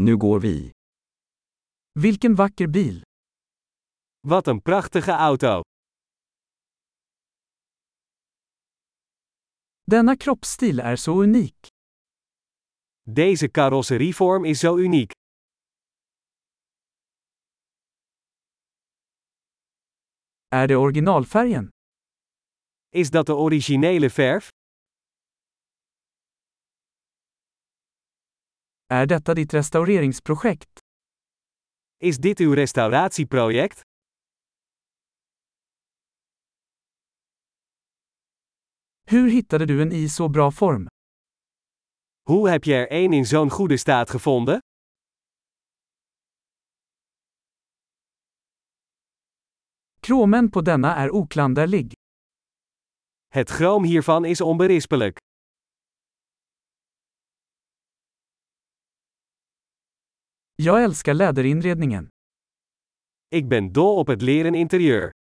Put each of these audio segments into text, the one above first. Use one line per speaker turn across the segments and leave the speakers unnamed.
Nu går vi.
Vilken vacker bil.
Wat een prachtige auto.
Denna kroppsstil är så unik.
Deze carrosserievorm is zo uniek.
Är det originalfärgen?
Is dat de originele verf?
Är detta ditt restaureringsprojekt?
Is dit uw restauratieproject?
Hur hittade du en i så bra form?
Hoe heb je er één in zo'n goede staat gevonden?
Kromen på denna är oklanderlig.
Het chroom hiervan is onberispelijk.
Jag älskar läderinredningen.
Ik ben dol op het leren interieur.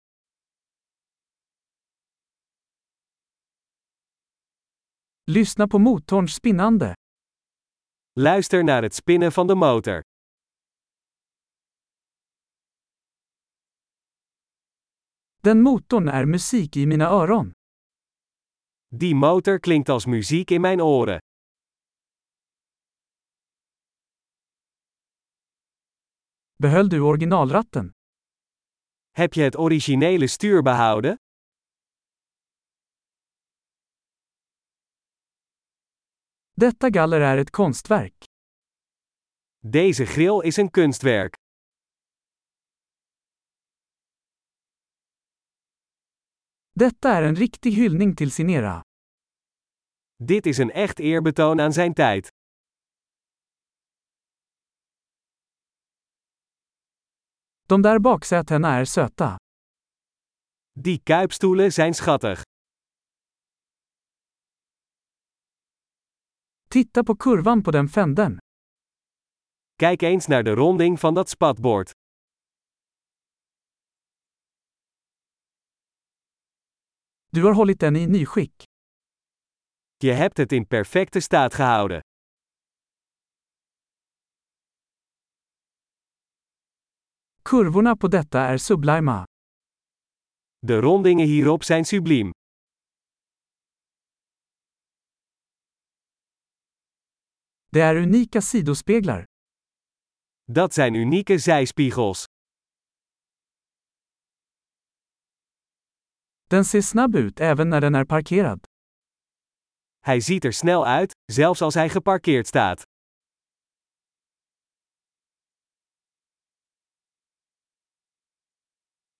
Lyssna på motorns spinnande.
Luister naar het spinnen van de motor.
Den motorn är musik i mina öron.
Die motor klinkt als muziek in mijn oren.
Behöll du originalratten?
Heb je het originele stuur behouden?
Detta galler är ett konstverk.
Deze grill is een kunstwerk.
Detta är en riktig hyllning till sin era.
Dit is een echt eerbetoon aan zijn tijd.
De där baksätena är söta.
Die kuipstoelen zijn schattig.
Titta på kurvan på den fänden.
Kijk eens naar de ronding van dat spatbord.
Du har hållit den i nyskick.
Je hebt het in perfecte staat gehouden.
Kurvorna på detta är sublima.
De rondingen hierop zijn subliem.
Det är unika sidospeglar.
Dat zijn unieke zijspiegels.
Den ser snabb ut även när den är parkerad.
Hij ziet er snel uit, zelfs als hij geparkeerd staat.